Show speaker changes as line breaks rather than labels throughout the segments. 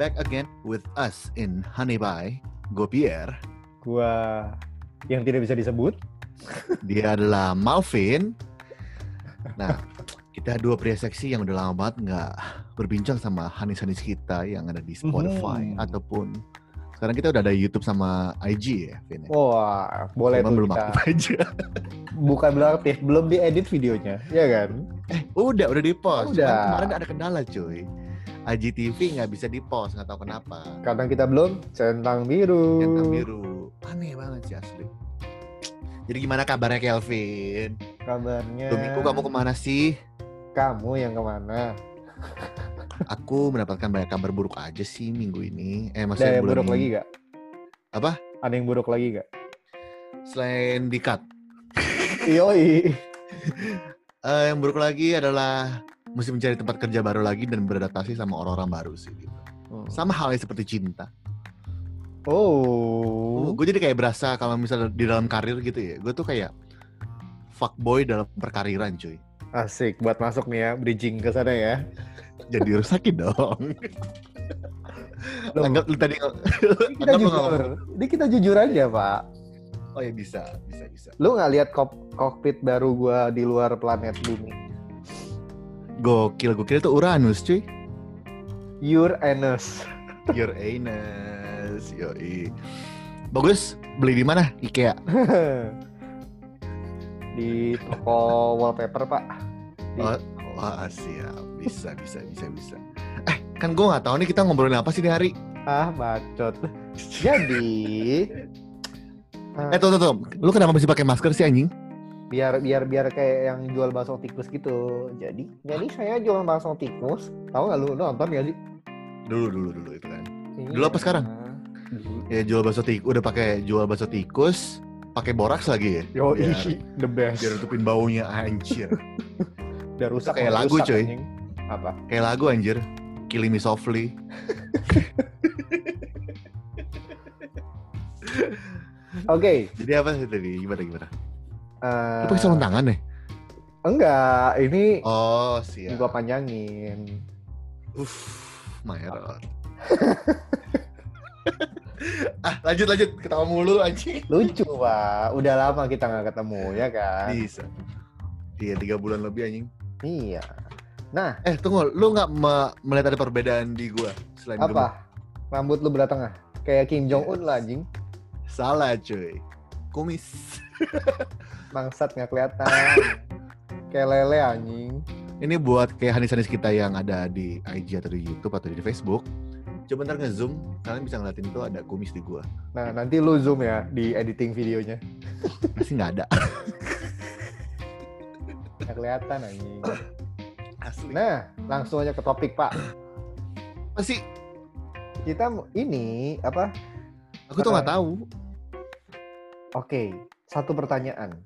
back again with us in Honey Pie. Gue Pierre.
Gua yang tidak bisa disebut.
Dia adalah Malvin. Nah, kita dua pria seksi yang udah lama banget nggak berbincang sama hanis-hanis kita yang ada di Spotify
Mhm.
ataupun sekarang kita udah ada YouTube sama IG ya, Vin. ya?
Wah, boleh
Cuman
tuh
belum
kita.
aktif aja.
Bukan belum aktif, belum diedit videonya, ya kan?
Eh, udah, udah di post.
Udah.
Kemarin ada kendala, cuy. IGTV nggak bisa di post, nggak tahu kenapa.
Kadang kita belum centang biru.
Centang biru. Aneh banget sih asli. Jadi gimana kabarnya Kelvin?
Kabarnya.
Dua minggu kamu kemana sih?
Kamu yang kemana?
Aku mendapatkan banyak kabar buruk aja sih minggu ini. Eh
Ada
maksudnya
yang
bulan
buruk
ini.
lagi gak?
Apa?
Ada yang buruk lagi gak?
Selain dikat.
Yoi.
Eh yang buruk lagi adalah mesti mencari tempat kerja baru lagi dan beradaptasi sama orang-orang baru sih. Gitu. Sama halnya seperti cinta.
Oh.
Gue jadi kayak berasa kalau misalnya di dalam karir gitu ya. Gue tuh kayak fuckboy dalam perkariran cuy.
Asik buat masuk nih ya, bridging ke sana ya.
Jadi rusakin dong.
Loh,
Anggap lu tadi
ini kita
anggap lu
jujur. Ini kita jujur aja, Pak.
Oh ya bisa, bisa, bisa.
Lu nggak lihat kok kokpit baru gua di luar planet bumi?
Gokil, gokil itu Uranus cuy.
Uranus.
Your anus, yoi. Bagus, beli di mana? IKEA.
di toko wallpaper pak Di-
Oh, wah siap, bisa, bisa, bisa, bisa. Eh, kan gue nggak tahu nih kita ngobrolin apa sih di hari.
ah bacot jadi
Eh, tuh, tuh, tuh. Lu kenapa masih pakai masker sih anjing?
biar biar biar kayak yang jual bakso tikus gitu jadi jadi saya jual bakso tikus tahu nggak lu, lu nonton gak sih Iya.
Dulu, dulu, dulu itu kan. Dulu apa sekarang?
Dulu.
Ya jual bakso tikus, udah pakai jual bakso tikus, pakai boraks lagi ya.
Yo,
Biar-
ih, the best.
Biar nutupin baunya anjir.
Udah rusak
kayak
udah
lagu,
rusak,
coy.
anjing. Apa?
Kayak lagu anjir. Killing Me Softly.
Oke.
Jadi apa sih tadi? Gimana gimana?
eh,
Lu pakai sarung tangan ya?
enggak, ini
Oh, siap.
gua panjangin.
Uff, Maerot. ah, lanjut lanjut ketawa mulu anjing.
Lucu, Pak. Udah lama kita nggak ketemu, ya kan?
Bisa. Iya, tiga bulan lebih anjing.
Iya.
Eh, tunggu, lu nggak me- melihat ada perbedaan di gua selain gemuk?
Apa? Rambut lu belah tengah. Kayak Kim Jong Un lah, anjing.
Salah, cuy. Kumis.
Bangsat nggak kelihatan. kayak lele anjing.
Ini buat kayak hanis-hanis kita yang ada di IG atau di YouTube atau di Facebook. Coba ntar nge-zoom, kalian bisa ngeliatin tuh ada kumis di gua.
Nah, nanti lu zoom ya di editing videonya.
Pasti nggak ada.
Nggak kelihatan anjing.
Asli.
Nah, langsung aja ke topik, Pak.
Apa sih?
Kita mau- ini apa?
Aku tuh nggak tahu.
Oke, satu pertanyaan.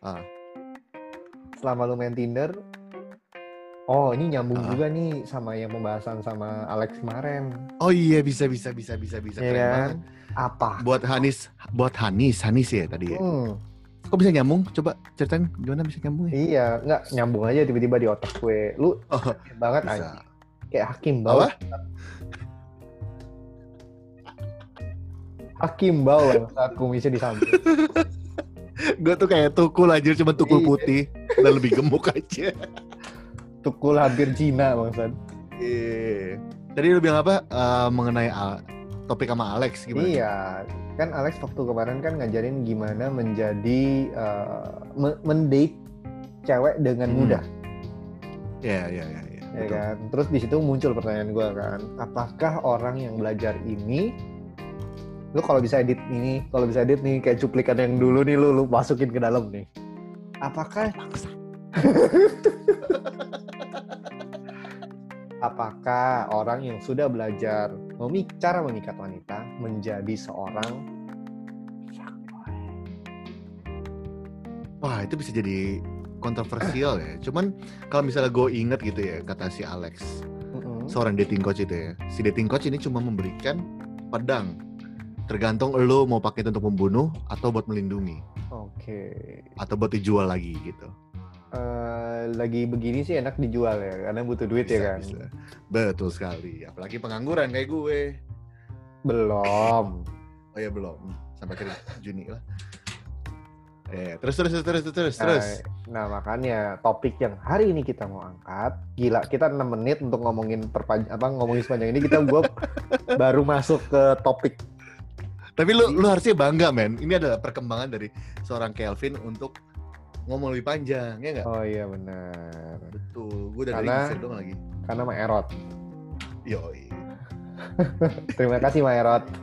Ah.
Selama lu main Tinder, Oh, ini nyambung
Ah.
juga nih sama yang pembahasan sama Alex kemarin.
Oh iya bisa bisa bisa bisa bisa
Iya
keren
kan?
banget.
Apa?
buat Hanis buat Hanis Hanis ya tadi ya
Hmm,
kok bisa nyambung coba ceritain gimana bisa nyambung ya
iya, nggak nyambung aja tiba-tiba di otak gue. Lu
oh,
hakim banget
bisa
anjing. Kayak hakim
apa
banget. Hakim bau saat kumisnya di samping.
gue tuh kayak tukul aja cuma tukul
Iya.
putih dan lebih gemuk aja
Tukul hampir Cina bangsat.
Iya. tadi lu bilang apa Eh, mengenai Al- topik sama Alex gimana
Iya, kan Alex waktu kemarin kan ngajarin gimana menjadi eh, me- mendate cewek dengan
Hmm,
mudah,
iya iya iya iya.
ya
Betul.
kan? Terus di situ muncul pertanyaan gue kan, apakah orang yang belajar ini lu kalau bisa edit ini, kalau bisa edit nih kayak cuplikan yang dulu nih lu, lu masukin ke dalam nih. Apakah apakah orang yang sudah belajar memik cara memikat wanita menjadi seorang
wah itu bisa jadi kontroversial ya cuman kalau misalnya gue inget gitu ya kata si Alex
Mm-mm.
seorang dating coach itu ya. Si dating coach ini cuma memberikan pedang. Tergantung lo mau pakai itu untuk membunuh atau buat melindungi
Oke.
atau buat dijual lagi gitu.
eh, lagi begini sih enak dijual ya karena butuh duit
Bisa,
ya kan
bisa. Betul sekali. Apalagi pengangguran kayak gue.
belum
Oh ya belum. Sampai akhir Juni lah. Eh, terus terus terus terus terus. terus.
Nah, nah, makanya topik yang hari ini kita mau angkat gila kita 6 menit untuk ngomongin perpan apa ngomongin sepanjang ini kita gua baru masuk ke topik
Tapi lu lu harusnya bangga, men. Ini adalah perkembangan dari seorang Kelvin untuk ngomong lebih panjang, ya nggak?
oh iya benar
Betul. Gue dari
Karena-
geser dong lagi.
karena Mak Erot
Yoi.
terima kasih Mak Erot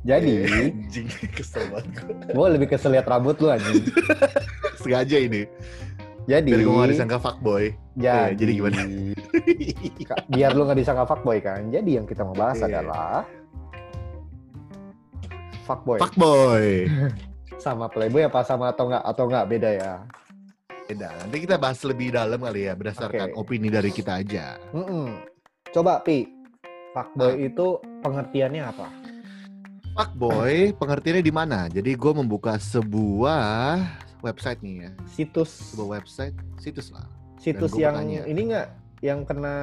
jadi
Anjing, kesel banget. gua.
gua lebih kesel lihat rambut lu anjing
Sengaja ini.
jadi
Biar gue nggak disangka fuckboy.
jadi,
Eh, jadi gimana?
Ka- biar lu nggak disangka fuckboy kan jadi yang kita mau bahas
Iya.
adalah fuckboy
fuckboy.
sama playboy apa sama atau nggak atau nggak beda ya
Beda. Nanti kita bahas lebih dalam kali ya berdasarkan
Oke.
opini dari kita aja.
Mm-mm. coba pi fuckboy itu pengertiannya apa
Fuckboy, pengertiannya di mana? Jadi gue membuka sebuah website nih ya,
situs
sebuah website situs lah. dan
situs
gua
yang
mau tanya.
ini nggak yang kena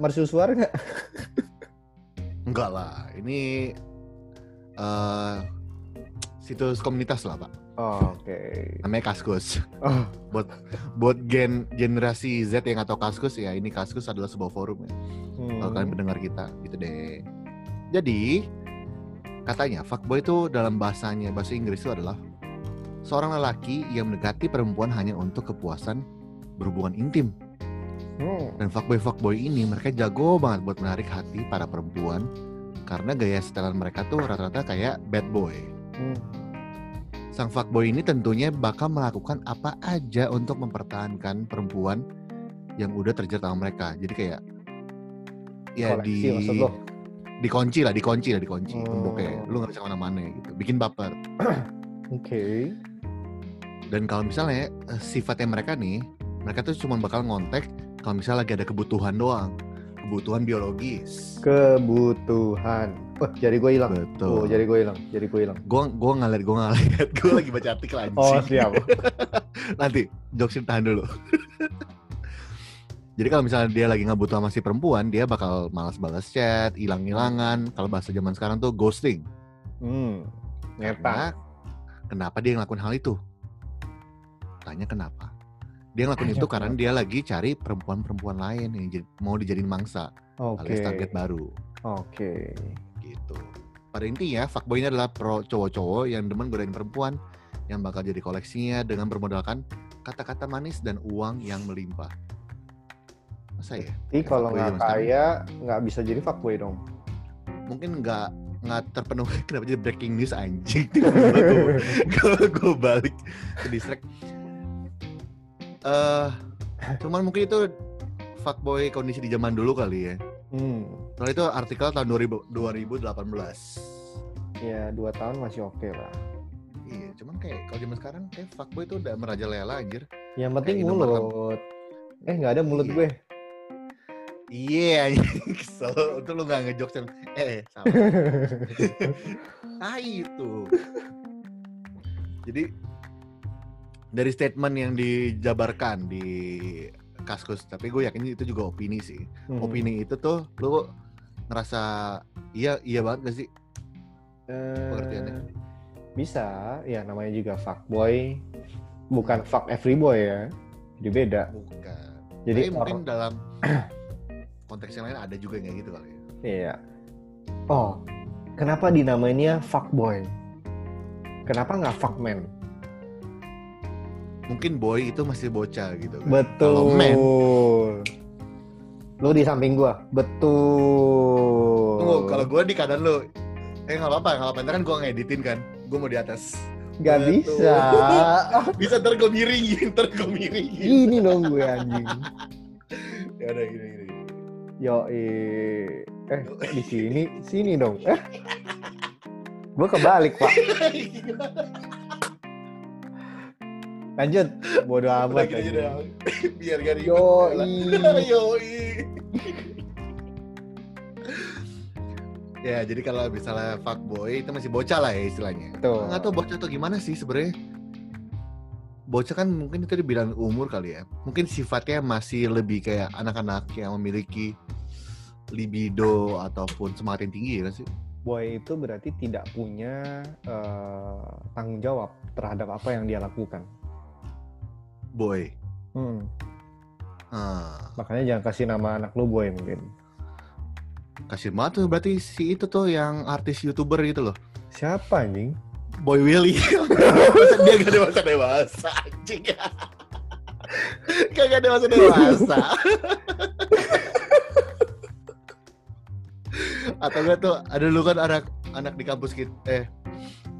mercusuar nggak
Enggak lah, ini eh situs komunitas lah pak.
Oh, oke
Namanya Kaskus.
Oh,
Buat gen generasi Z yang atau Kaskus ya, ini Kaskus adalah sebuah forum ya.
hmm.
Kalau kalian pendengar kita, gitu deh. Jadi katanya fuckboy itu dalam bahasanya bahasa Inggris itu adalah seorang lelaki yang mendekati perempuan hanya untuk kepuasan berhubungan intim.
Hmm.
Dan fuckboy-fuckboy ini mereka jago banget buat menarik hati para perempuan karena gaya setelan mereka tuh rata-rata kayak bad boy.
Hmm.
Sang fuckboy ini tentunya bakal melakukan apa aja untuk mempertahankan perempuan yang udah terjerat sama mereka. Jadi kayak ya
Koleksi,
di
maksud lo?
dikunci lah, dikunci lah, dikunci.
Hmm.
Temboknya lu nggak bisa kemana-mana gitu, bikin baper.
oke
Dan kalau misalnya eh, sifatnya mereka nih, mereka tuh cuma bakal ngontek kalau misalnya lagi ada kebutuhan doang, kebutuhan biologis.
kebutuhan oh, jadi gue hilang
Betul.
oh jadi gue hilang jadi gue hilang
Gue gue ngeliat gue ngeliat gue lagi baca artikel anjing.
oh siap
Nanti jokesnya tahan dulu. Jadi kalau misalnya dia lagi nggak butuh sama si perempuan, dia bakal malas balas chat, hilang-hilangan. Kalau bahasa zaman sekarang tuh ghosting.
Hmm, nyata.
Karena kenapa dia ngelakuin hal itu? Tanya kenapa? Dia ngelakuin
Tanya
itu karena dia lagi cari perempuan-perempuan lain yang jadi- mau dijadiin mangsa
Oke.
alias target baru.
Oke.
gitu. Pada intinya, fuckboy ini adalah pro cowok-cowok yang demen godain perempuan yang bakal jadi koleksinya dengan bermodalkan kata-kata manis dan uang yang melimpah. Masa ya?
Jadi kalau
Fuckboy
nggak
zaman sekarang.
kaya, nggak bisa jadi fuckboy dong.
Mungkin nggak nggak terpenuhi kenapa jadi breaking news anjing Tiba-tiba gue gue balik ke distract eh cuman mungkin itu fuckboy kondisi di zaman dulu kali ya
Hmm,
soalnya itu artikel tahun 2000, 2018
ya dua tahun masih oke lah.
Iya, cuman kayak kalau zaman sekarang kayak fuckboy tuh udah merajalela anjir.
Yang
Kayak
penting
Indomaret.
mulut. Eh nggak ada mulut
Iya.
gue.
Iya, anjing. kesel. Untung lu gak ngejokes yang eh salah. tai itu. Jadi dari statement yang dijabarkan di Kaskus, tapi gue yakin itu juga opini sih.
Hmm.
Opini itu tuh lu ngerasa iya iya banget gak sih?
Eh,
pengertiannya.
Bisa, ya namanya juga fuckboy. Bukan fuck every boy ya. Jadi beda.
Bukan.
Jadi
Tapi
orang
mungkin dalam konteks yang lain ada juga yang kayak gitu kali ya.
Iya. Oh, kenapa dinamainya fuckboy? Kenapa nggak fuckman?
Mungkin boy itu masih bocah gitu kan. Kalau
Betul.
man
Lu di samping gua. Betul.
Tunggu, kalau gue di keadaan lu Eh nggak apa-apa, nggak apa-apa Ntar kan gue ngeditin kan Gue mau di atas
nggak
Betul.
bisa.
Bisa ntar gue miringin, ntar gue miringin
Ini dong gue anjing.
Ya udah gini, gini gini.
Yo eh di sini sini dong. Eh. Gua kebalik, Pak. Lanjut. Bodoh
Udah
amat.
gini aja
anjing.
dong. Biar gak ribet
Yoi.
Yoi Ya jadi kalau misalnya fuckboy itu masih bocah lah ya istilahnya
Betul.
Nggak tau bocah tuh gimana sih sebenarnya bocah kan mungkin tadi bilang umur kali ya. Mungkin sifatnya masih lebih kayak anak-anak yang memiliki libido ataupun semangat yang tinggi ya nggak sih?
Boy itu berarti tidak punya eh, tanggung jawab terhadap apa yang dia lakukan.
Boy.
Hmm,
Ah,
Makanya jangan kasih nama anak lu boy mungkin.
kasih banget tuh berarti si itu tuh yang artis youtuber gitu loh.
Siapa anjing?
Boy Willy. Masa dia gak dewasa dewasa anjing. Kagak dewasa dewasa. Atau enggak tuh ada lu kan anak anak di kampus kita eh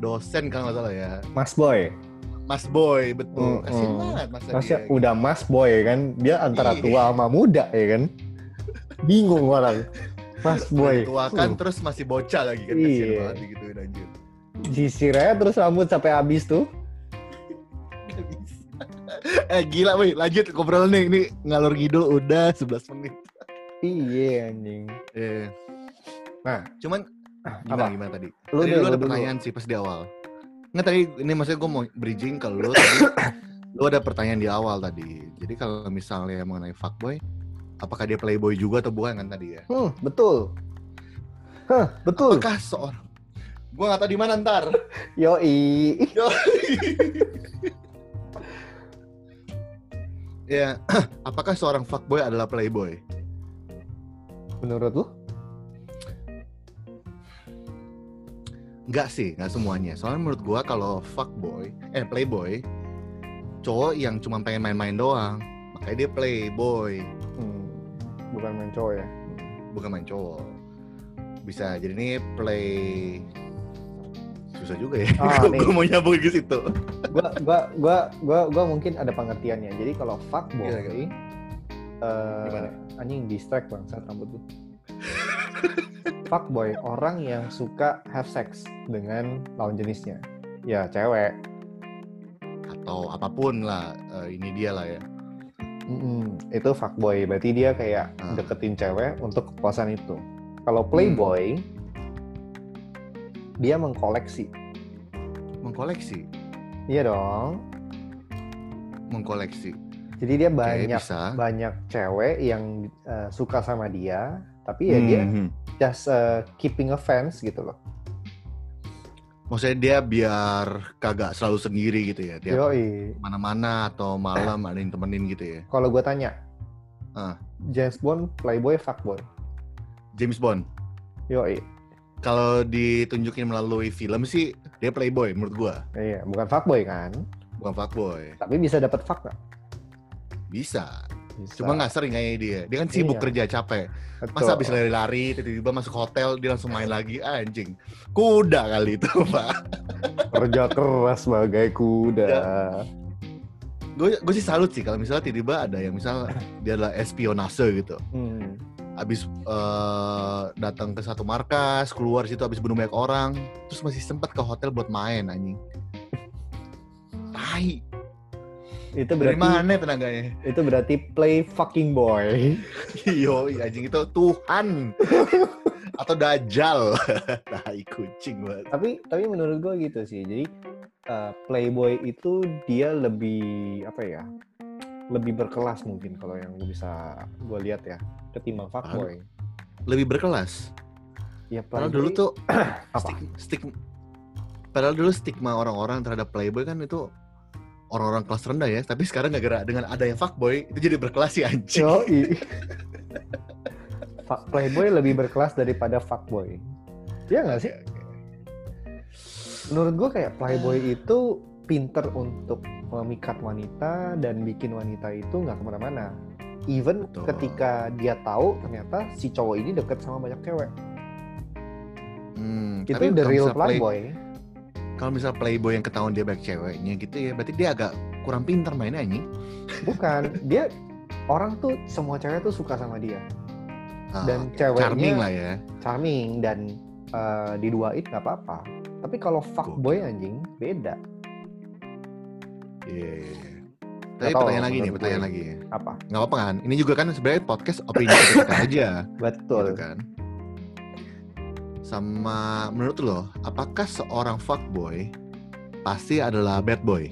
dosen kan nggak salah ya.
Mas boy.
Mas Boy betul.
Mm,
Kasian
mm.
banget masa,
Masih
dia.
udah mas boy kan? Dia antara
Iya.
tua sama muda ya kan? Bingung orang. Mas boy. Uh.
Tua kan terus masih bocah lagi kan kasian
Iya.
banget digituin anjir.
Sisir aja terus rambut sampai habis tuh.
Nggak bisa. eh gila woi lanjut ngobrol nih ini ngalur ngidul udah 11 menit.
Iya anjing.
Eh.
Nah.
cuman
Apa?
gimana gimana tadi?
Lu
tadi
deh,
lu ada
lu dulu.
pertanyaan sih pas di awal. Nggak tadi ini maksudnya gue mau bridging ke lu tadi. lu ada pertanyaan di awal tadi. Jadi kalau misalnya mengenai fuckboy, apakah dia playboy juga atau bukan kan tadi ya?
Hmm, betul. Hah, betul.
Apakah seorang Gue gak tau di mana ntar.
Yoi.
ya, apakah seorang fuckboy adalah playboy?
Menurut lu?
Enggak sih, nggak semuanya. Soalnya menurut gua kalau fuckboy, eh playboy, cowok yang cuma pengen main-main doang, makanya dia playboy,
Hmm, bukan main cowok ya.
bukan main cowok. Bisa jadi nih play susah juga ya.
Ah,
Gua- gua
nih.
mau nyambung ke situ.
Gua, gua, gua, gua, gua mungkin ada pengertiannya. Jadi kalau fuckboy,
Gila, gila.
eh
Gimana?
anjing distract bang, saat rambut tuh. fuckboy orang yang suka have sex dengan lawan jenisnya. Ya cewek.
Atau apapun lah, eh, ini dia lah ya.
Mm-mm, itu fuckboy. Berarti dia kayak
Ah. Hmm.
deketin cewek untuk kepuasan itu. Kalau playboy, dia mengkoleksi.
Mengkoleksi,
Iya dong.
mengkoleksi.
Jadi dia
Oke,
banyak
bisa.
banyak cewek yang eh, suka sama dia, tapi ya dia
Mhm.
just eh, keeping a fence gitu loh.
Maksudnya dia biar kagak selalu sendiri gitu ya. Tiap
Yoi.
mana-mana atau malam ada yang temenin gitu ya.
Kalau gue tanya,
Ah.
James Bond playboy fuckboy.
James Bond.
Yoi.
Kalau ditunjukin melalui film sih dia playboy menurut gua,
Iya, bukan fuckboy kan,
bukan fuckboy.
tapi bisa dapat fuck nggak?
Bisa.
Bisa.
Cuma nggak sering kayaknya dia. Dia kan sibuk
Iya.
kerja capek.
Betul.
Masa habis lari-lari tiba-tiba masuk hotel dia langsung main lagi Ah, anjing. Kuda kali itu, Pak.
kerja keras sebagai kuda.
Ya. Gue gue sih salut sih kalau misalnya tiba-tiba ada yang misal dia adalah espionase gitu.
Hmm.
Habis eh, datang ke satu markas, keluar situ habis bunuh banyak orang, terus masih sempat ke hotel buat main anjing. Tai.
Itu
Dari
berarti
mana tenaganya?
itu berarti play fucking boy.
Yo, anjing itu Tuhan atau Dajjal. tai kucing banget.
tapi tapi menurut gue gitu sih. Jadi eh, playboy itu dia lebih apa ya? Lebih berkelas mungkin kalau yang gue bisa gue lihat ya ketimbang fuckboy.
Lebih berkelas.
Ya
Padahal dulu
playboy-
tuh
apa?
stig, stig- padahal dulu stigma orang-orang terhadap playboy kan itu orang-orang kelas rendah ya, tapi sekarang gak gerak dengan adanya fuckboy itu jadi berkelas sih anjing.
Yoi. Fuck- playboy lebih berkelas daripada fuckboy. Iya nggak sih? menurut gue
Hmm.
kayak playboy itu pinter untuk memikat wanita dan bikin wanita itu nggak kemana-mana. Even
Betul.
ketika dia tahu ternyata si cowok ini deket sama banyak cewek.
Hmm,
Itu
tapi
the
kalau
real
misal play-
playboy.
Kalau misal playboy yang ketahuan dia banyak ceweknya gitu ya, berarti dia agak kurang pintar mainnya anjing.
Bukan, dia orang tuh semua cewek tuh suka sama dia.
Ah,
Dan
oke.
ceweknya-
charming lah ya.
Charming dan eh, diduain nggak apa-apa. Tapi kalau fuckboy anjing beda.
Iya. iya, iya.
Nggak
Tapi
tahu,
pertanyaan lagi nih,
menurut gue.
pertanyaan lagi ya.
Apa?
nggak apa-apa kan ini juga kan sebenarnya podcast opini kita aja gitu
Betul.
kan sama menurut lo apakah seorang fuckboy pasti adalah bad boy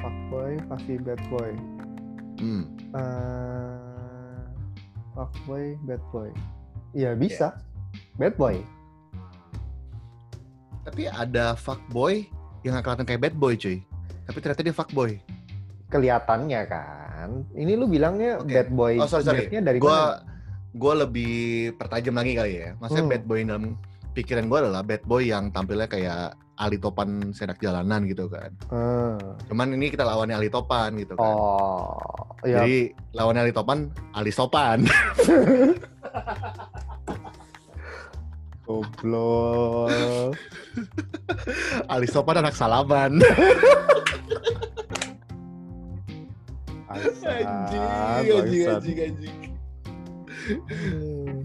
fuckboy pasti bad boy
Hmm.
Eh, fuckboy bad boy ya
Iya.
bisa bad boy
Tapi ada fuckboy yang nggak kelihatan kayak bad boy cuy. Tapi ternyata dia fuckboy.
kelihatannya kan ini lu bilangnya
Oke.
bad boy
Oh sorry sorry.
badnya dari mana
Gua gua lebih pertajam lagi kali ya. Maksudnya
Hmm.
bad boy dalam pikiran gua adalah bad boy yang tampilnya kayak Ali Topan senak jalanan gitu kan.
Eh,
Cuman ini kita lawannya Ali Topan gitu kan.
oh ya
Jadi lawannya Ali Topan, Ali Sopan.
goblok
Ali Sopan anak salaman.
Aisyah,
Ah,
bangsat.
anjing.
Hmm.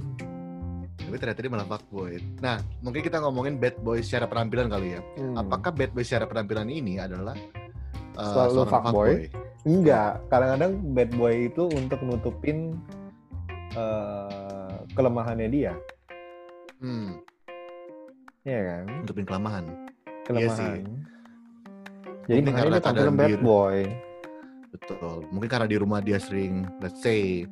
Tapi ternyata dia malah fuckboy. Nah, mungkin kita ngomongin bad boy secara penampilan kali ya.
Hmm.
Apakah bad boy secara penampilan ini adalah uh,
Selalu
seorang
fuckboy? Enggak, kadang-kadang bad boy itu untuk nutupin eh, kelemahannya dia,
Hmm,
ya kan?
nutupin kelemahan.
Kelemahan.
Iya sih.
Jadi
Mungkin
makanya
karena
dia tampil
keadaan
bad
dia-
boy.
Betul. Mungkin karena di rumah dia sering, let's say,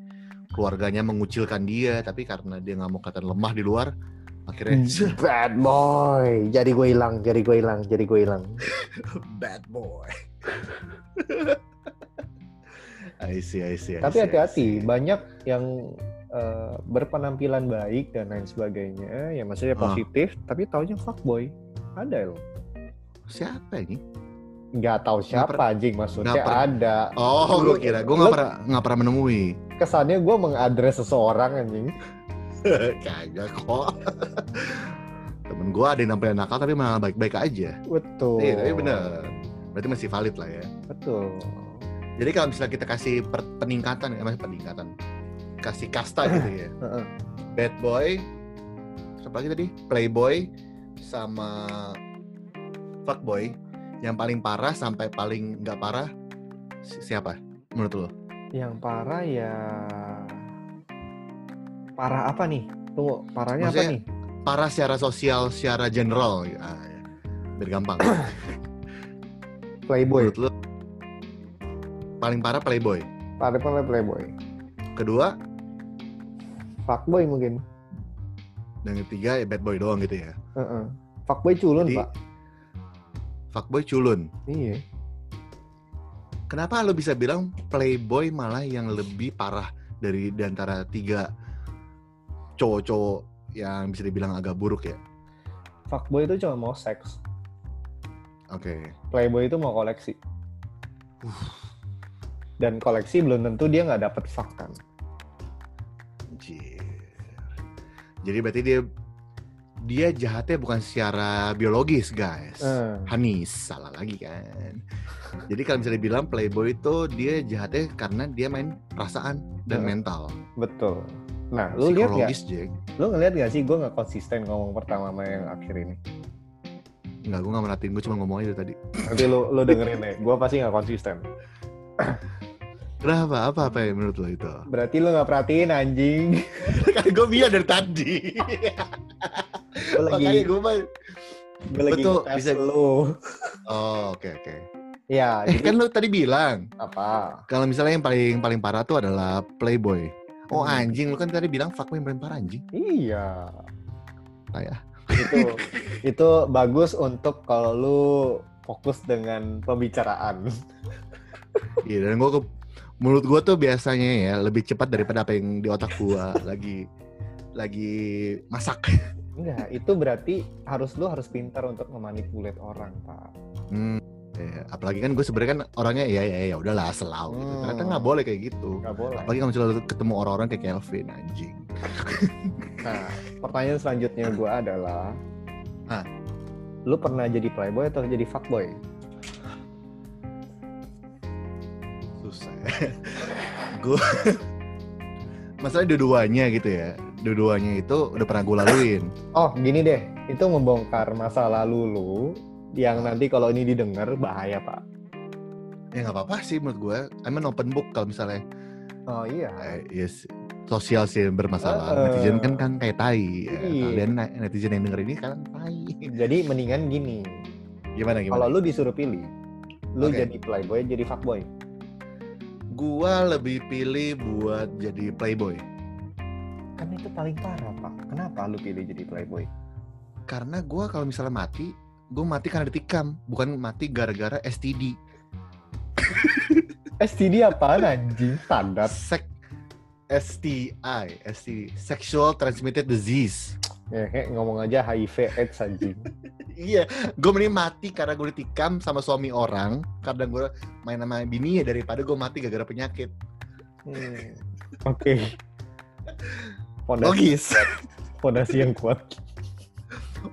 keluarganya mengucilkan dia, tapi karena dia nggak mau kelihatan lemah di luar, akhirnya
Bad boy. Jadi gue hilang, jadi gue hilang, jadi gue hilang. Hmm.
bad boy. I see, I see, I see,
Tapi
I
hati-hati,
see.
banyak yang eh, berpenampilan baik dan lain sebagainya, ya maksudnya
Ah.
positif, tapi taunya fuckboy. Ada loh.
Siapa ini?
Nggak tahu siapa
pernah-
anjing maksudnya
nggak pernah.
ada.
Oh,
Lu-
gue kira. Gue nggak
lu-
pernah nggak pernah menemui.
Kesannya gue mengadres seseorang anjing.
Kagak kok. Temen gue ada yang nampilnya nakal tapi malah baik-baik aja.
Betul.
Iya, tapi bener. Berarti masih valid lah ya.
Betul.
Jadi kalau misalnya kita kasih per- peningkatan, eh, maksudnya peningkatan, kasih kasta gitu ya.
Heeh.
Bad boy, apa lagi tadi? Playboy, sama fuckboy. Yang paling parah sampai paling nggak parah si- siapa? Menurut lo?
Yang parah ya parah apa nih? Tunggu, parahnya apa
Maksudnya-
nih?
Parah secara sosial, secara general. Ah, ya. Biar gampang.
Playboy.
Menurut lo? Paling parah playboy.
Parah parah playboy.
kedua
Fuckboy mungkin.
dan ketiga ya bad boy doang gitu ya
Heeh. Fuckboy culun,
Jadi-
Pak.
fuckboy culun
Iya.
kenapa lo bisa bilang playboy malah yang lebih parah dari di antara tiga cowok-cowok yang bisa dibilang agak buruk ya
Fuckboy itu cuma mau seks.
oke
Playboy itu mau koleksi. Dan koleksi belum tentu dia nggak dapet fuck kan.
Anjir. jadi berarti dia dia jahatnya bukan secara biologis guys
Eh,
Hanis salah lagi kan jadi kalau misalnya dibilang playboy itu dia jahatnya karena dia main perasaan dan
Hmm.
mental
betul. Nah, lu lihat nggak?
psikologis Jack
Lu ngeliat nggak sih gue nggak konsisten ngomong pertama sama yang akhir ini?
Enggak, gue gak merhatiin, gue cuma ngomongnya dari tadi
Nanti lu, lu dengerin deh, gue pasti nggak konsisten.
Kenapa? Apa apa ya menurut lo itu?
Berarti lu nggak perhatiin anjing.
kan gue bilang dari tadi.
Gue
Makanya
lagi,
gue mah.
gue lagi
betul,
ngetes
bisa-
lu.
Oh oke oke.
Ya,
Eh
jadi
kan lo tadi bilang
apa?
kalau misalnya yang paling paling parah tuh adalah playboy. Oh
Hmm.
anjing, lo kan tadi bilang fuckboy yang paling parah anjing.
Iya. Oh, ya.
Kayak.
Itu itu bagus untuk kalau lu fokus dengan pembicaraan.
Iya dan gue ke mulut gue tuh biasanya ya lebih cepat daripada apa yang di otak gue lagi lagi masak.
Enggak, itu berarti harus lu harus pintar untuk memanipulate orang, Pak.
Hmm. Ya, apalagi kan gue sebenarnya kan orangnya ya ya ya udahlah selau gitu.
Hmm.
Ternyata nggak boleh kayak gitu.
Nggak boleh.
Apalagi kalau misalnya lu ketemu orang-orang kayak Kelvin anjing.
Nah, pertanyaan selanjutnya gue adalah,
Ah.
lu pernah jadi playboy atau jadi fuckboy?
susah gue masalahnya dua-duanya gitu ya dua-duanya itu udah pernah gue laluin
Oh, gini deh, itu membongkar masa lalu lu yang nanti kalau ini didengar bahaya, Pak.
ya nggak apa-apa sih menurut gue I'm an open book kalau misalnya
Oh iya.
eh, yes sosial sih yang bermasalah
Eh, eh.
netizen kan kan kayak tai ya.
Iya.
kalian na- netizen yang denger ini kan tai
Jadi mendingan gini,
gimana gimana
kalau lu disuruh pilih, Lu
Oke.
jadi playboy, jadi fuckboy.
Gua lebih pilih buat jadi playboy
Kan itu paling parah, Pak. Kenapa lu pilih jadi playboy?
karena gua kalau misalnya mati, gue mati karena ditikam, bukan mati gara-gara STD.
STD Eh, apaan anjing? Standar.
Sek STI, STD, sexual transmitted disease.
Ngehe, Ya, ngomong aja HIV AIDS anjing.
Iya, gue mending mati karena gue ditikam sama suami orang, karena gue main sama bini ya daripada gue mati gara-gara penyakit.
Hmm. Oke.
Nah,
Fondasi,
Logis.
fondasi yang kuat.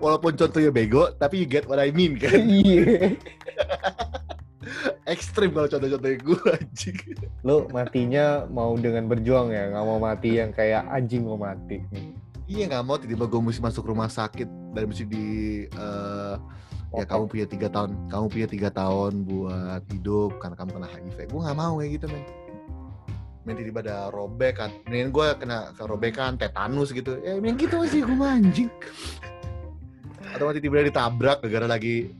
Walaupun contohnya bego, tapi you get what I mean kan.
Iya.
Ekstrim kalau contoh-contohnya gue anjing.
Lu matinya mau dengan berjuang ya, nggak mau mati yang kayak anjing mau mati.
Iya nggak mau tiba-tiba gue mesti masuk rumah sakit dan mesti di eh, ya kamu punya tiga tahun kamu punya tiga tahun buat hidup karena kamu kena HIV gue nggak mau kayak gitu men men daripada robek kan mendingan gue kena ke robekan tetanus gitu ya mending gitu sih gue mah, anjing atau mati tiba-tiba ditabrak gara-gara lagi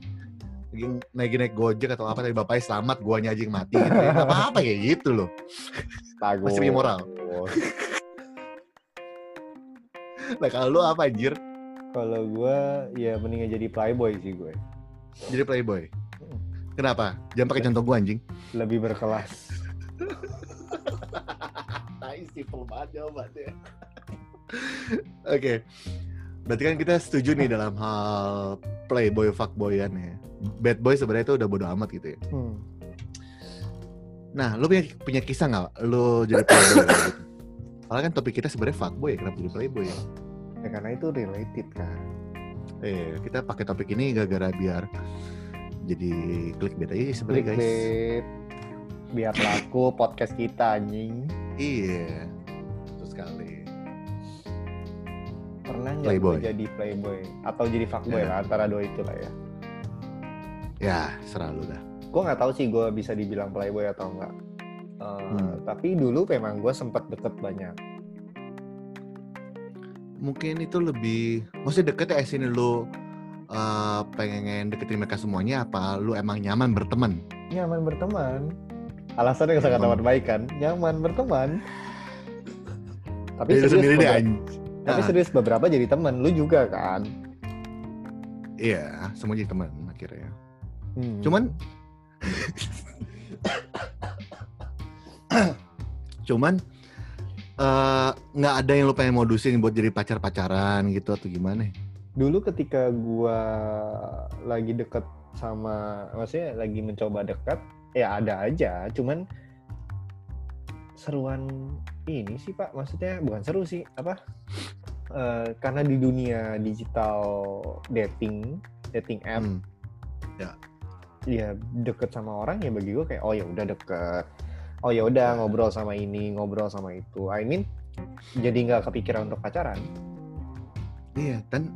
lagi naik naik gojek atau apa tapi bapaknya selamat guanya aja yang mati gitu ya. Nggak apa-apa kayak gitu loh
Tagor.
Masih punya moral. nah kalau lu apa anjir
Kalau gua ya mendingan jadi playboy sih gue.
jadi playboy kenapa jangan pakai contoh gue anjing
Lebih berkelas.
tai simple banget jawabannya. Oke. Berarti kan kita setuju nih dalam hal playboy fuckboyan ya. Bad boy sebenarnya itu udah bodo amat gitu ya.
Hmm.
Nah, lu punya, punya kisah nggak? Lu jadi playboy gitu? Soalnya kan topik kita sebenarnya fuckboy ya, kenapa jadi playboy ya?
Ya, karena itu related kan.
Eh, kita pakai topik ini gara-gara biar jadi clickbait aja sih sebenarnya guys.
Clickbait. Biar laku podcast kita anjing.
Iya. Terus sekali.
Pernah nggak
Playboy.
lu jadi playboy atau jadi fuckboy
Ya.
lah antara dua itu lah ya.
Ya, serah lu dah.
Gue nggak tahu sih gue bisa dibilang playboy atau enggak.
Hmm.
Tapi dulu memang gue sempat deket banyak.
Mungkin itu lebih maksudnya deket ya sini lu eh, pengen deketin mereka semuanya apa lu emang nyaman berteman?
Nyaman berteman. Alasannya yang sangat
Nyaman.
amat baik kan. Nyaman berteman. tapi
Diri
serius,
sendiri deh
beberapa-
anj-
tapi
Ah.
serius beberapa jadi teman. Lu juga kan.
Iya, semua jadi teman akhirnya.
Hmm.
Cuman Cuman eh, nggak ada yang lu pengen modusin buat jadi pacar-pacaran gitu atau gimana?
dulu ketika gua lagi deket sama maksudnya lagi mencoba dekat ya ada aja cuman seruan ini sih pak maksudnya bukan seru sih apa Eh, karena di dunia digital dating dating app
Hmm.
ya deket sama orang ya bagi gue kayak oh ya udah deket oh ya udah ngobrol sama ini ngobrol sama itu I mean jadi nggak kepikiran untuk pacaran
Iya, dan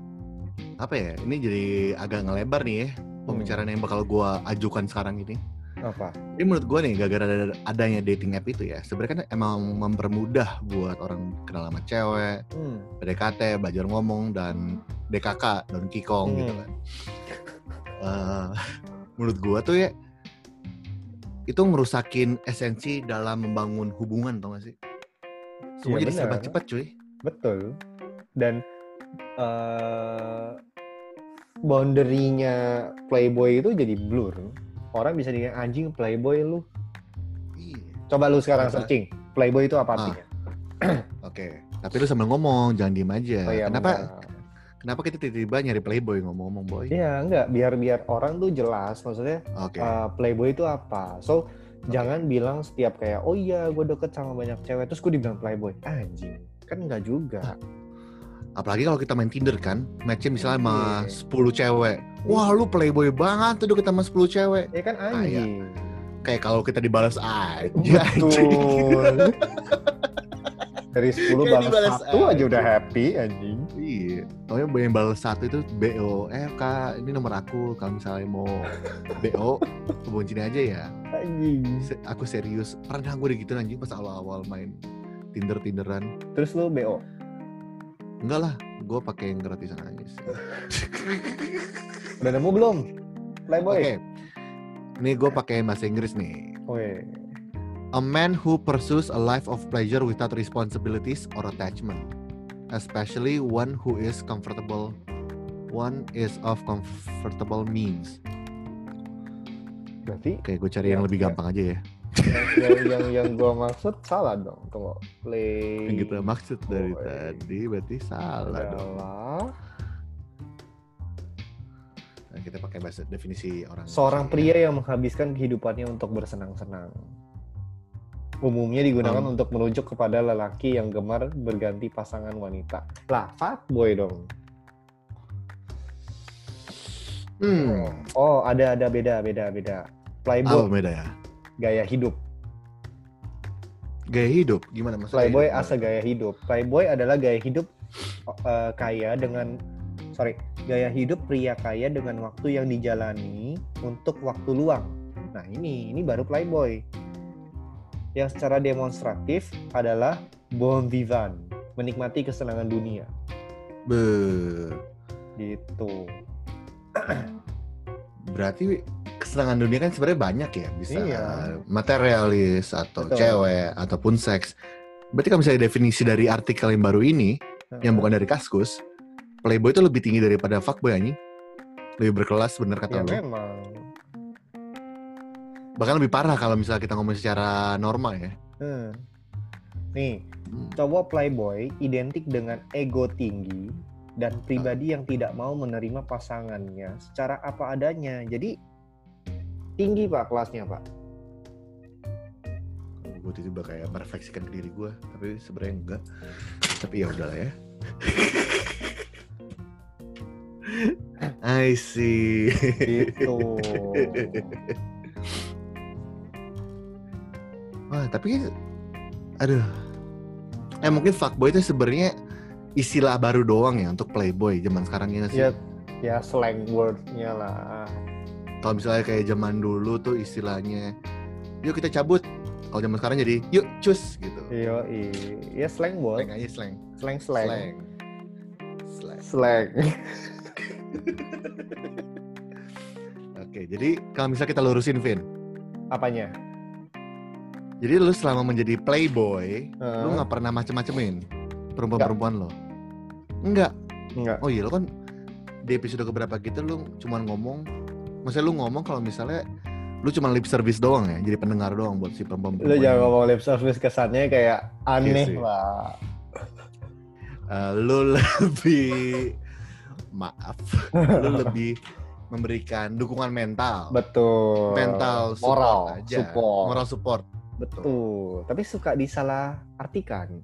apa ya? Ini jadi agak ngelebar nih ya pembicaraan yang bakal gua ajukan sekarang ini.
apa
Ini menurut gue nih, gara-gara ada- adanya dating app itu ya, sebenarnya kan emang mempermudah buat orang kenal sama cewek,
hmm.
PDKT, belajar ngomong, dan DKK, Don Kikong gitu
Hmm.
kan. Eh, menurut gue tuh ya, itu ngerusakin esensi dalam membangun hubungan tau gak sih? Semua
Iya,
jadi serba
benar.
cepat cuy.
Betul. Dan eh boundary-nya playboy itu jadi blur. Orang bisa dibilang anjing playboy lu.
Iya.
Coba lu sekarang
Apa?
searching. Playboy itu apa
Ah,
artinya?
Oke, tapi lu sambil ngomong, jangan diem aja.
Oh, iya,
kenapa
benar.
kenapa kita tiba-tiba nyari playboy ngomong-ngomong boy?
Iya, enggak. Biar-biar orang tuh jelas. Maksudnya
Oke,
eh, playboy itu apa. So, jangan bilang setiap kayak, oh iya gue deket sama banyak cewek. Terus gue dibilang playboy. Anjing. Kan
Ah,
enggak juga.
apalagi kalau kita main Tinder kan, matchnya misalnya sama
Iya.
10 cewek. Wah lu playboy banget tuh deket sama 10 cewek.
Ya kan
Ah, iya.
anjing.
Kayak kalau kita dibalas aja. Iya, anjing.
Betul. Dari 10
Kayak dibalas
balas satu aja
aja.
udah happy anjing.
Iya. Soalnya yang balas satu itu BO. Eh kak, ini nomor aku. Kalau misalnya mau BO, hubungin sini aja ya.
Anjing.
Se- aku serius. Pernah gue gitu anjing pas awal-awal main Tinder-Tinderan.
Terus lu BO.
Enggak lah, gue pakai yang gratisan aja sih.
Udah nemu belum? Playboy. Oh,
Oke. Ini gue pakai bahasa Inggris nih.
Oke.
A man who pursues a life of pleasure without responsibilities or attachment, especially one who is comfortable, one is of comfortable means.
Berarti
Oke, gue cari yang
Ya,
lebih
ya.
gampang aja ya.
yang yang yang, yang gue maksud salah dong. Tunggu. Play.
Yang kita Gitu, maksud dari
Boy.
tadi berarti salah
Iya.
dong.
adalah
Nah, kita pakai bahasa definisi orang.
seorang pria yang menghabiskan kehidupannya untuk bersenang-senang. Umumnya digunakan
Hmm.
untuk merujuk kepada lelaki yang gemar berganti pasangan wanita. Lah, fuckboy dong.
Hmm.
Oh, ada ada beda beda beda.
Apa
Playboy
beda ya?
gaya hidup.
Gaya hidup gimana maksudnya?
Playboy
hidup?
asa gaya hidup. Playboy adalah gaya hidup eh, kaya dengan sorry gaya hidup pria kaya dengan waktu yang dijalani untuk waktu luang. Nah ini ini baru playboy yang secara demonstratif adalah bon vivant menikmati kesenangan dunia
Be
gitu.
berarti kesenangan dunia kan sebenarnya banyak ya bisa
Iya.
materialis atau
Betul.
cewek ataupun seks. Berarti kalau misalnya definisi dari artikel yang baru ini yang
Nah,
bukan dari Kaskus, Playboy itu lebih tinggi daripada fuckboy anjing. Lebih berkelas bener kata
ya
lo.
memang.
Bahkan lebih parah kalau misalnya kita ngomong secara norma ya.
Hmm. Nih
Hmm.
Cowok playboy identik dengan ego tinggi dan pribadi yang tidak mau menerima pasangannya secara apa adanya. Jadi tinggi pak kelasnya pak.
gue tiba-tiba kayak merefleksikan ke diri gue tapi sebenarnya enggak tapi ya udahlah ya I see
Gitu.
wah tapi aduh eh mungkin fuckboy itu sebenarnya istilah baru doang ya untuk playboy zaman sekarang ya nggak sih
ya, ya slang wordnya lah.
kalau misalnya kayak zaman dulu tuh istilahnya yuk kita cabut kalau zaman sekarang jadi yuk cus gitu
Yo, ya slang
slang
word,
aja slang
Iya. slang slang,
slang slang
slang.
Oke, jadi kalau misalnya kita lurusin, Vin.
Apanya?
Jadi lu selama menjadi playboy, lu
Eh,
nggak pernah macem-macemin perempuan-perempuan lo? Enggak.
enggak.
Oh iya, lu kan di episode keberapa gitu lu cuman ngomong, maksudnya lu ngomong kalau misalnya lu cuman lip service doang ya, jadi pendengar doang buat si perempuan.
Lu jangan ngomong lip service kesannya kayak
Iya
aneh
sih.
lah.
Eh, lu lebih maaf, lu lebih memberikan dukungan mental,
Betul.
mental support
moral,
aja.
support.
moral support.
Betul. Tapi suka disalah artikan.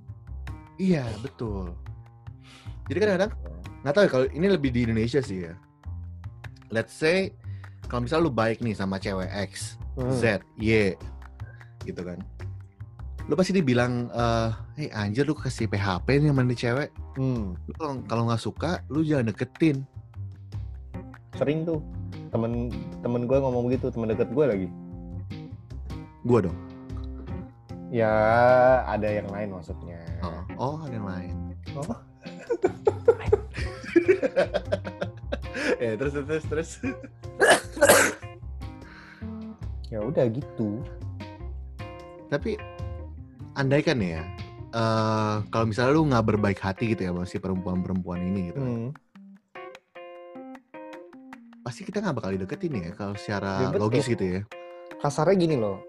Iya, betul. Jadi Gitu kadang-kadang nggak tahu ya, kalau ini lebih di Indonesia sih ya. Let's say kalau misalnya lu baik nih sama cewek X,
Hmm.
Z, Y, gitu kan. Lu pasti dibilang, eh hey anjir lu kasih PHP nih sama nih cewek.
Hmm.
Lu kalau- kalau nggak suka, lu jangan deketin.
Sering tuh temen temen gue ngomong begitu temen deket gue lagi.
Gua dong.
Ya ada yang lain maksudnya.
Oh, oh ada yang lain.
Oh.
eh terus terus terus.
Ya udah gitu.
Tapi andaikan nih ya, eh, kalau misalnya lu nggak berbaik hati gitu ya sama si perempuan-perempuan ini gitu,
Hmm.
pasti kita nggak bakal dideketin ya kalau
Ya,
secara
betul.
logis gitu ya.
Kasarnya gini loh.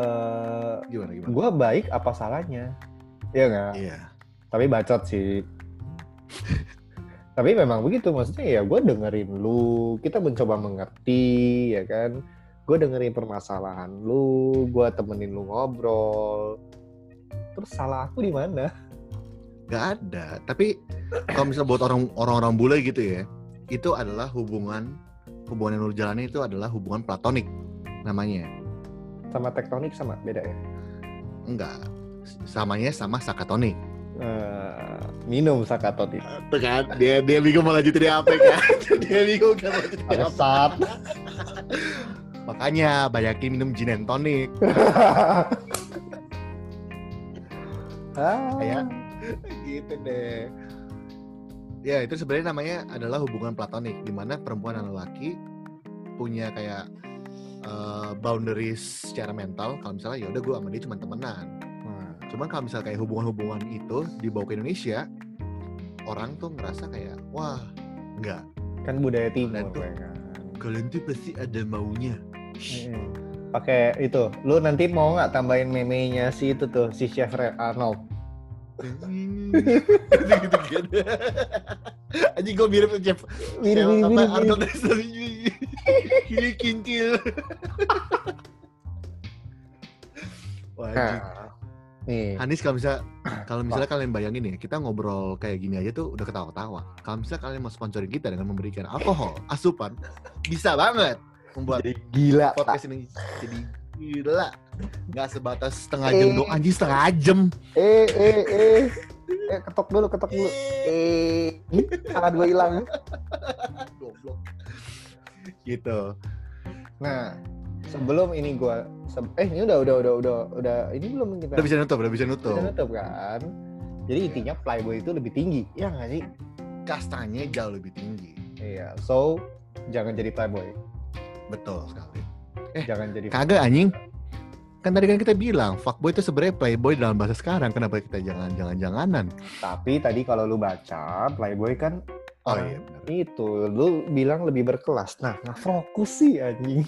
Eh,
Gimana gimana?
gue baik apa salahnya? Iya nggak?
Iya.
Tapi bacot sih. Tapi memang begitu maksudnya ya gue dengerin lu, kita mencoba mengerti ya kan. Gue dengerin permasalahan lu, gue temenin lu ngobrol. Terus salah aku di mana?
Gak ada. Tapi kalau misalnya buat orang orang-orang bule gitu ya, itu adalah hubungan hubungan yang lu jalani itu adalah hubungan platonik namanya.
Sama tektonik sama beda ya.
Enggak. Samanya sama sakatonik.
Eh, minum sakatonik.
Tuh kan, dia dia bingung mau lanjutin apa kan? dia bingung kan mau lanjutin apa.
Bangsat.
Makanya banyakin minum gin and tonic.
Ah,
Kayak gitu deh. Ya itu sebenarnya namanya adalah hubungan platonik, di mana perempuan dan lelaki punya kayak eh, boundaries secara mental kalau misalnya ya udah gue sama dia cuma temenan
Nah,
cuman kalau misalnya kayak hubungan-hubungan itu dibawa ke Indonesia orang tuh ngerasa kayak wah nggak
kan budaya timur
Dan tuh-
ya kan.
kalian tuh pasti ada maunya Shh.
Mm-mm. Pakai itu, lu nanti mau nggak tambahin memenya si itu tuh si Chef Re- Arnold?
gitu kan anjing gue mirip tuh Jeff Kayak
Biri, biri,
apa,
biri, biri.
Arnold Leslie. Kiri kincil Wah, anjing.
Nah, nih.
Hanis kalau bisa kalau misalnya kalian bayangin nih kita ngobrol kayak gini aja tuh udah ketawa-ketawa. Kalau misalnya kalian mau sponsorin kita dengan memberikan alkohol, asupan, bisa banget membuat
Jadi gila. tak.
podcast ini jadi gila. Gak sebatas setengah jam doang, anjing setengah jam.
Eh, eh, eh. Eh, ketok dulu, ketok dulu. Eh, ih, tangan gue hilang.
Goblok. Gitu.
Nah, sebelum ini gue, eh ini udah, udah, udah, udah, udah, ini belum kita
Udah bisa nutup, udah bisa
kita
nutup.
nutup kan. Jadi intinya playboy itu lebih tinggi, ya nggak sih?
Kastanya jauh lebih tinggi.
Iya. So jangan jadi playboy,
Betul sekali.
jangan jadi.
Iya. Kagak anjing. Kan tadi kan kita bilang fuckboy itu sebenarnya playboy dalam bahasa sekarang. Kenapa kita jangan jangan janganan?
Tapi tadi kalau lu baca playboy kan
Oh
orang
iya benar.
itu lu bilang lebih berkelas. Nah, nggak fokus sih anjing.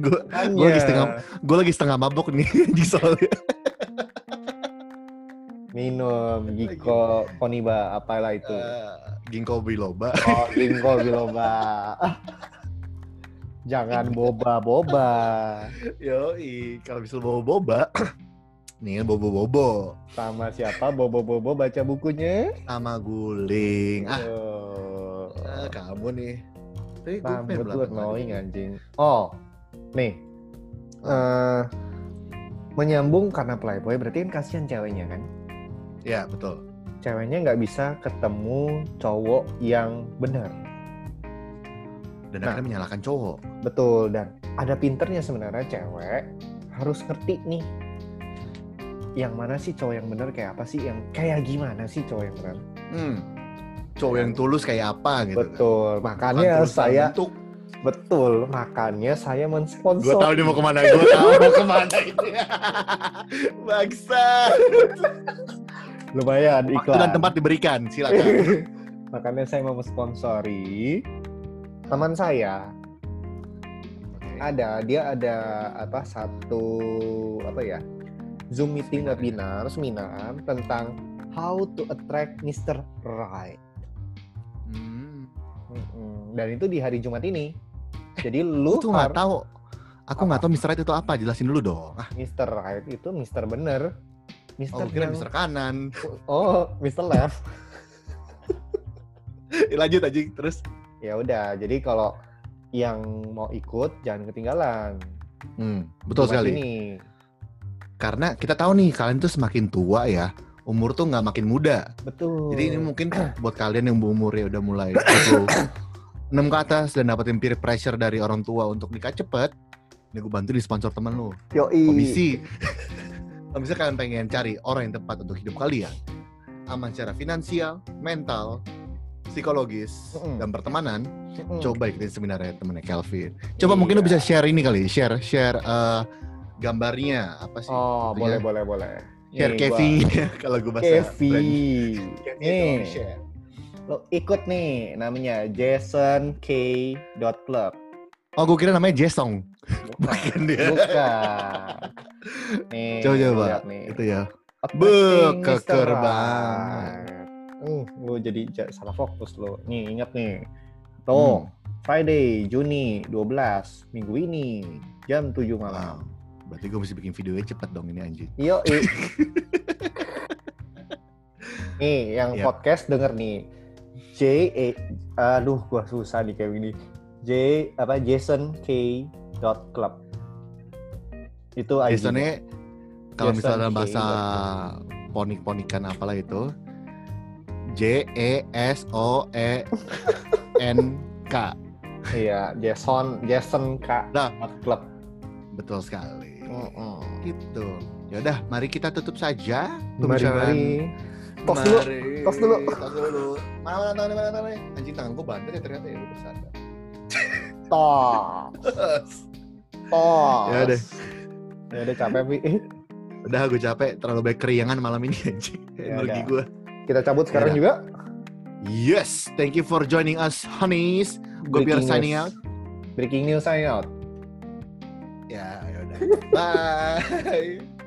Gue Gua lagi setengah- gue lagi setengah mabok nih di soalnya.
minum Giko Koniba apalah itu.
Eh. Ginkgo biloba.
Oh, Gingko Biloba. Jangan boba-boba.
Yoi, kalau bisa bobo boba. Nih bobo bobo
Sama siapa bobo-bobo baca bukunya?
sama guling. Ah,
Oh.
ah, kamu nih. Tapi gua pengen
Rambut lu
belakangan.
annoying anjing. Oh, nih. Eh, menyambung karena playboy berarti kan kasihan ceweknya kan.
Ya betul.
Ceweknya nggak bisa ketemu cowok yang benar.
Dan
Nah.
akhirnya menyalahkan cowok.
Betul dan ada pinternya sebenarnya cewek harus ngerti nih yang mana sih cowok yang benar kayak apa sih yang kayak gimana sih cowok yang benar.
Hmm. Cowok yang tulus kayak apa gitu. kan.
Betul.
Bukan
Makanya
tulus dalam
saya
bentuk.
betul makanya
Gue
saya
tahu
mensponsor.
dia mau kemana. Gue tahu mau kemana ini. Bangsa.
Lumayan
Waktu
iklan.
dan tempat diberikan. Silakan.
Makanya saya mau sponsori teman saya ada dia ada apa satu apa ya Zoom meeting webinar seminar tentang how to attract Mr. Right
Hmm.
Mm-mm. dan itu di hari Jumat ini
Eh,
jadi lu
Aku tuh nggak
har-
tahu. Aku nggak tahu Mr. Right itu apa. Jelasin dulu dong. Ah,
Mr. Right itu Mr. bener
oh,
Mr.
kira
yang-
Mr. Kanan.
oh Mr. left
Lanjut aja terus.
ya udah jadi kalau yang mau ikut jangan ketinggalan
Hmm, betul
Jumat
sekali.
ini
Karena kita tahu nih kalian tuh semakin tua ya. Umur tuh nggak makin muda.
betul
Jadi ini mungkin buat kalian yang umurnya udah mulai 26 ke atas dan dapetin peer pressure dari orang tua untuk nikah cepet, ini gue bantu di sponsor temen lo.
Yoi.
komisi. Kalau misalnya kalian pengen cari orang yang tepat untuk hidup kalian, aman secara finansial, mental, psikologis,
Mm-mm.
dan pertemanan,
Mm-mm.
coba ikutin seminarnya temennya Kelvin. Coba
Iya.
mungkin lu bisa share ini kali, share share eh, gambarnya apa sih? Iya.
Oh, boleh, boleh, boleh.
share
Nih,
Kevi kalau gue
gua- Iya.
bahasa
Kevi.
French.
Nih,
Kevi share.
lo ikut nih namanya Jason K. Club.
Oh, gue kira namanya Jesong.
Bukan.
dia.
Bukan. Nih,
Coba, coba.
lihat nih.
Itu ya.
Attracting
Beuh,
Mr.
keker
Right.
banget.
Hmm, gue jadi ja- salah fokus lo. Nih, ingat nih.
Hmm.
Tuh, Friday, Juni 12, minggu ini, jam 7
Hmm,
malam.
wow. Berarti gue mesti bikin videonya cepet dong ini anjing.
Yo, nih yang
Yap.
podcast denger nih. J E aduh gua susah nih kayak gini. J apa Jason K dot club. Itu IG.
Biasanya kalau
Jason
misalnya dalam
J.
bahasa ponik-ponikan apalah itu J E S O E N K.
Iya, Jason Jason K
Dah.
dot club.
Betul sekali.
Mm-mm.
Gitu. Ya udah, mari kita tutup saja.
Mari
pembicaraan.
mari. Tos dulu.
Mari.
tos dulu.
Tos dulu. Mana mana tangannya, mana tangannya. Anjing tanganku bandel ya ternyata ya lu bercanda.
Tos. Oh.
Ya udah.
Ya udah capek Vi. Eh,
Udah gue capek terlalu banyak keringan malam ini anjing.
Ya
Energi
udah.
gue.
Kita cabut sekarang
Ya.
juga.
Yes, thank you for joining us, honeys. Gue biar
Breaking
signing
news.
out.
Breaking news signing out.
Ya, ya udah. Bye.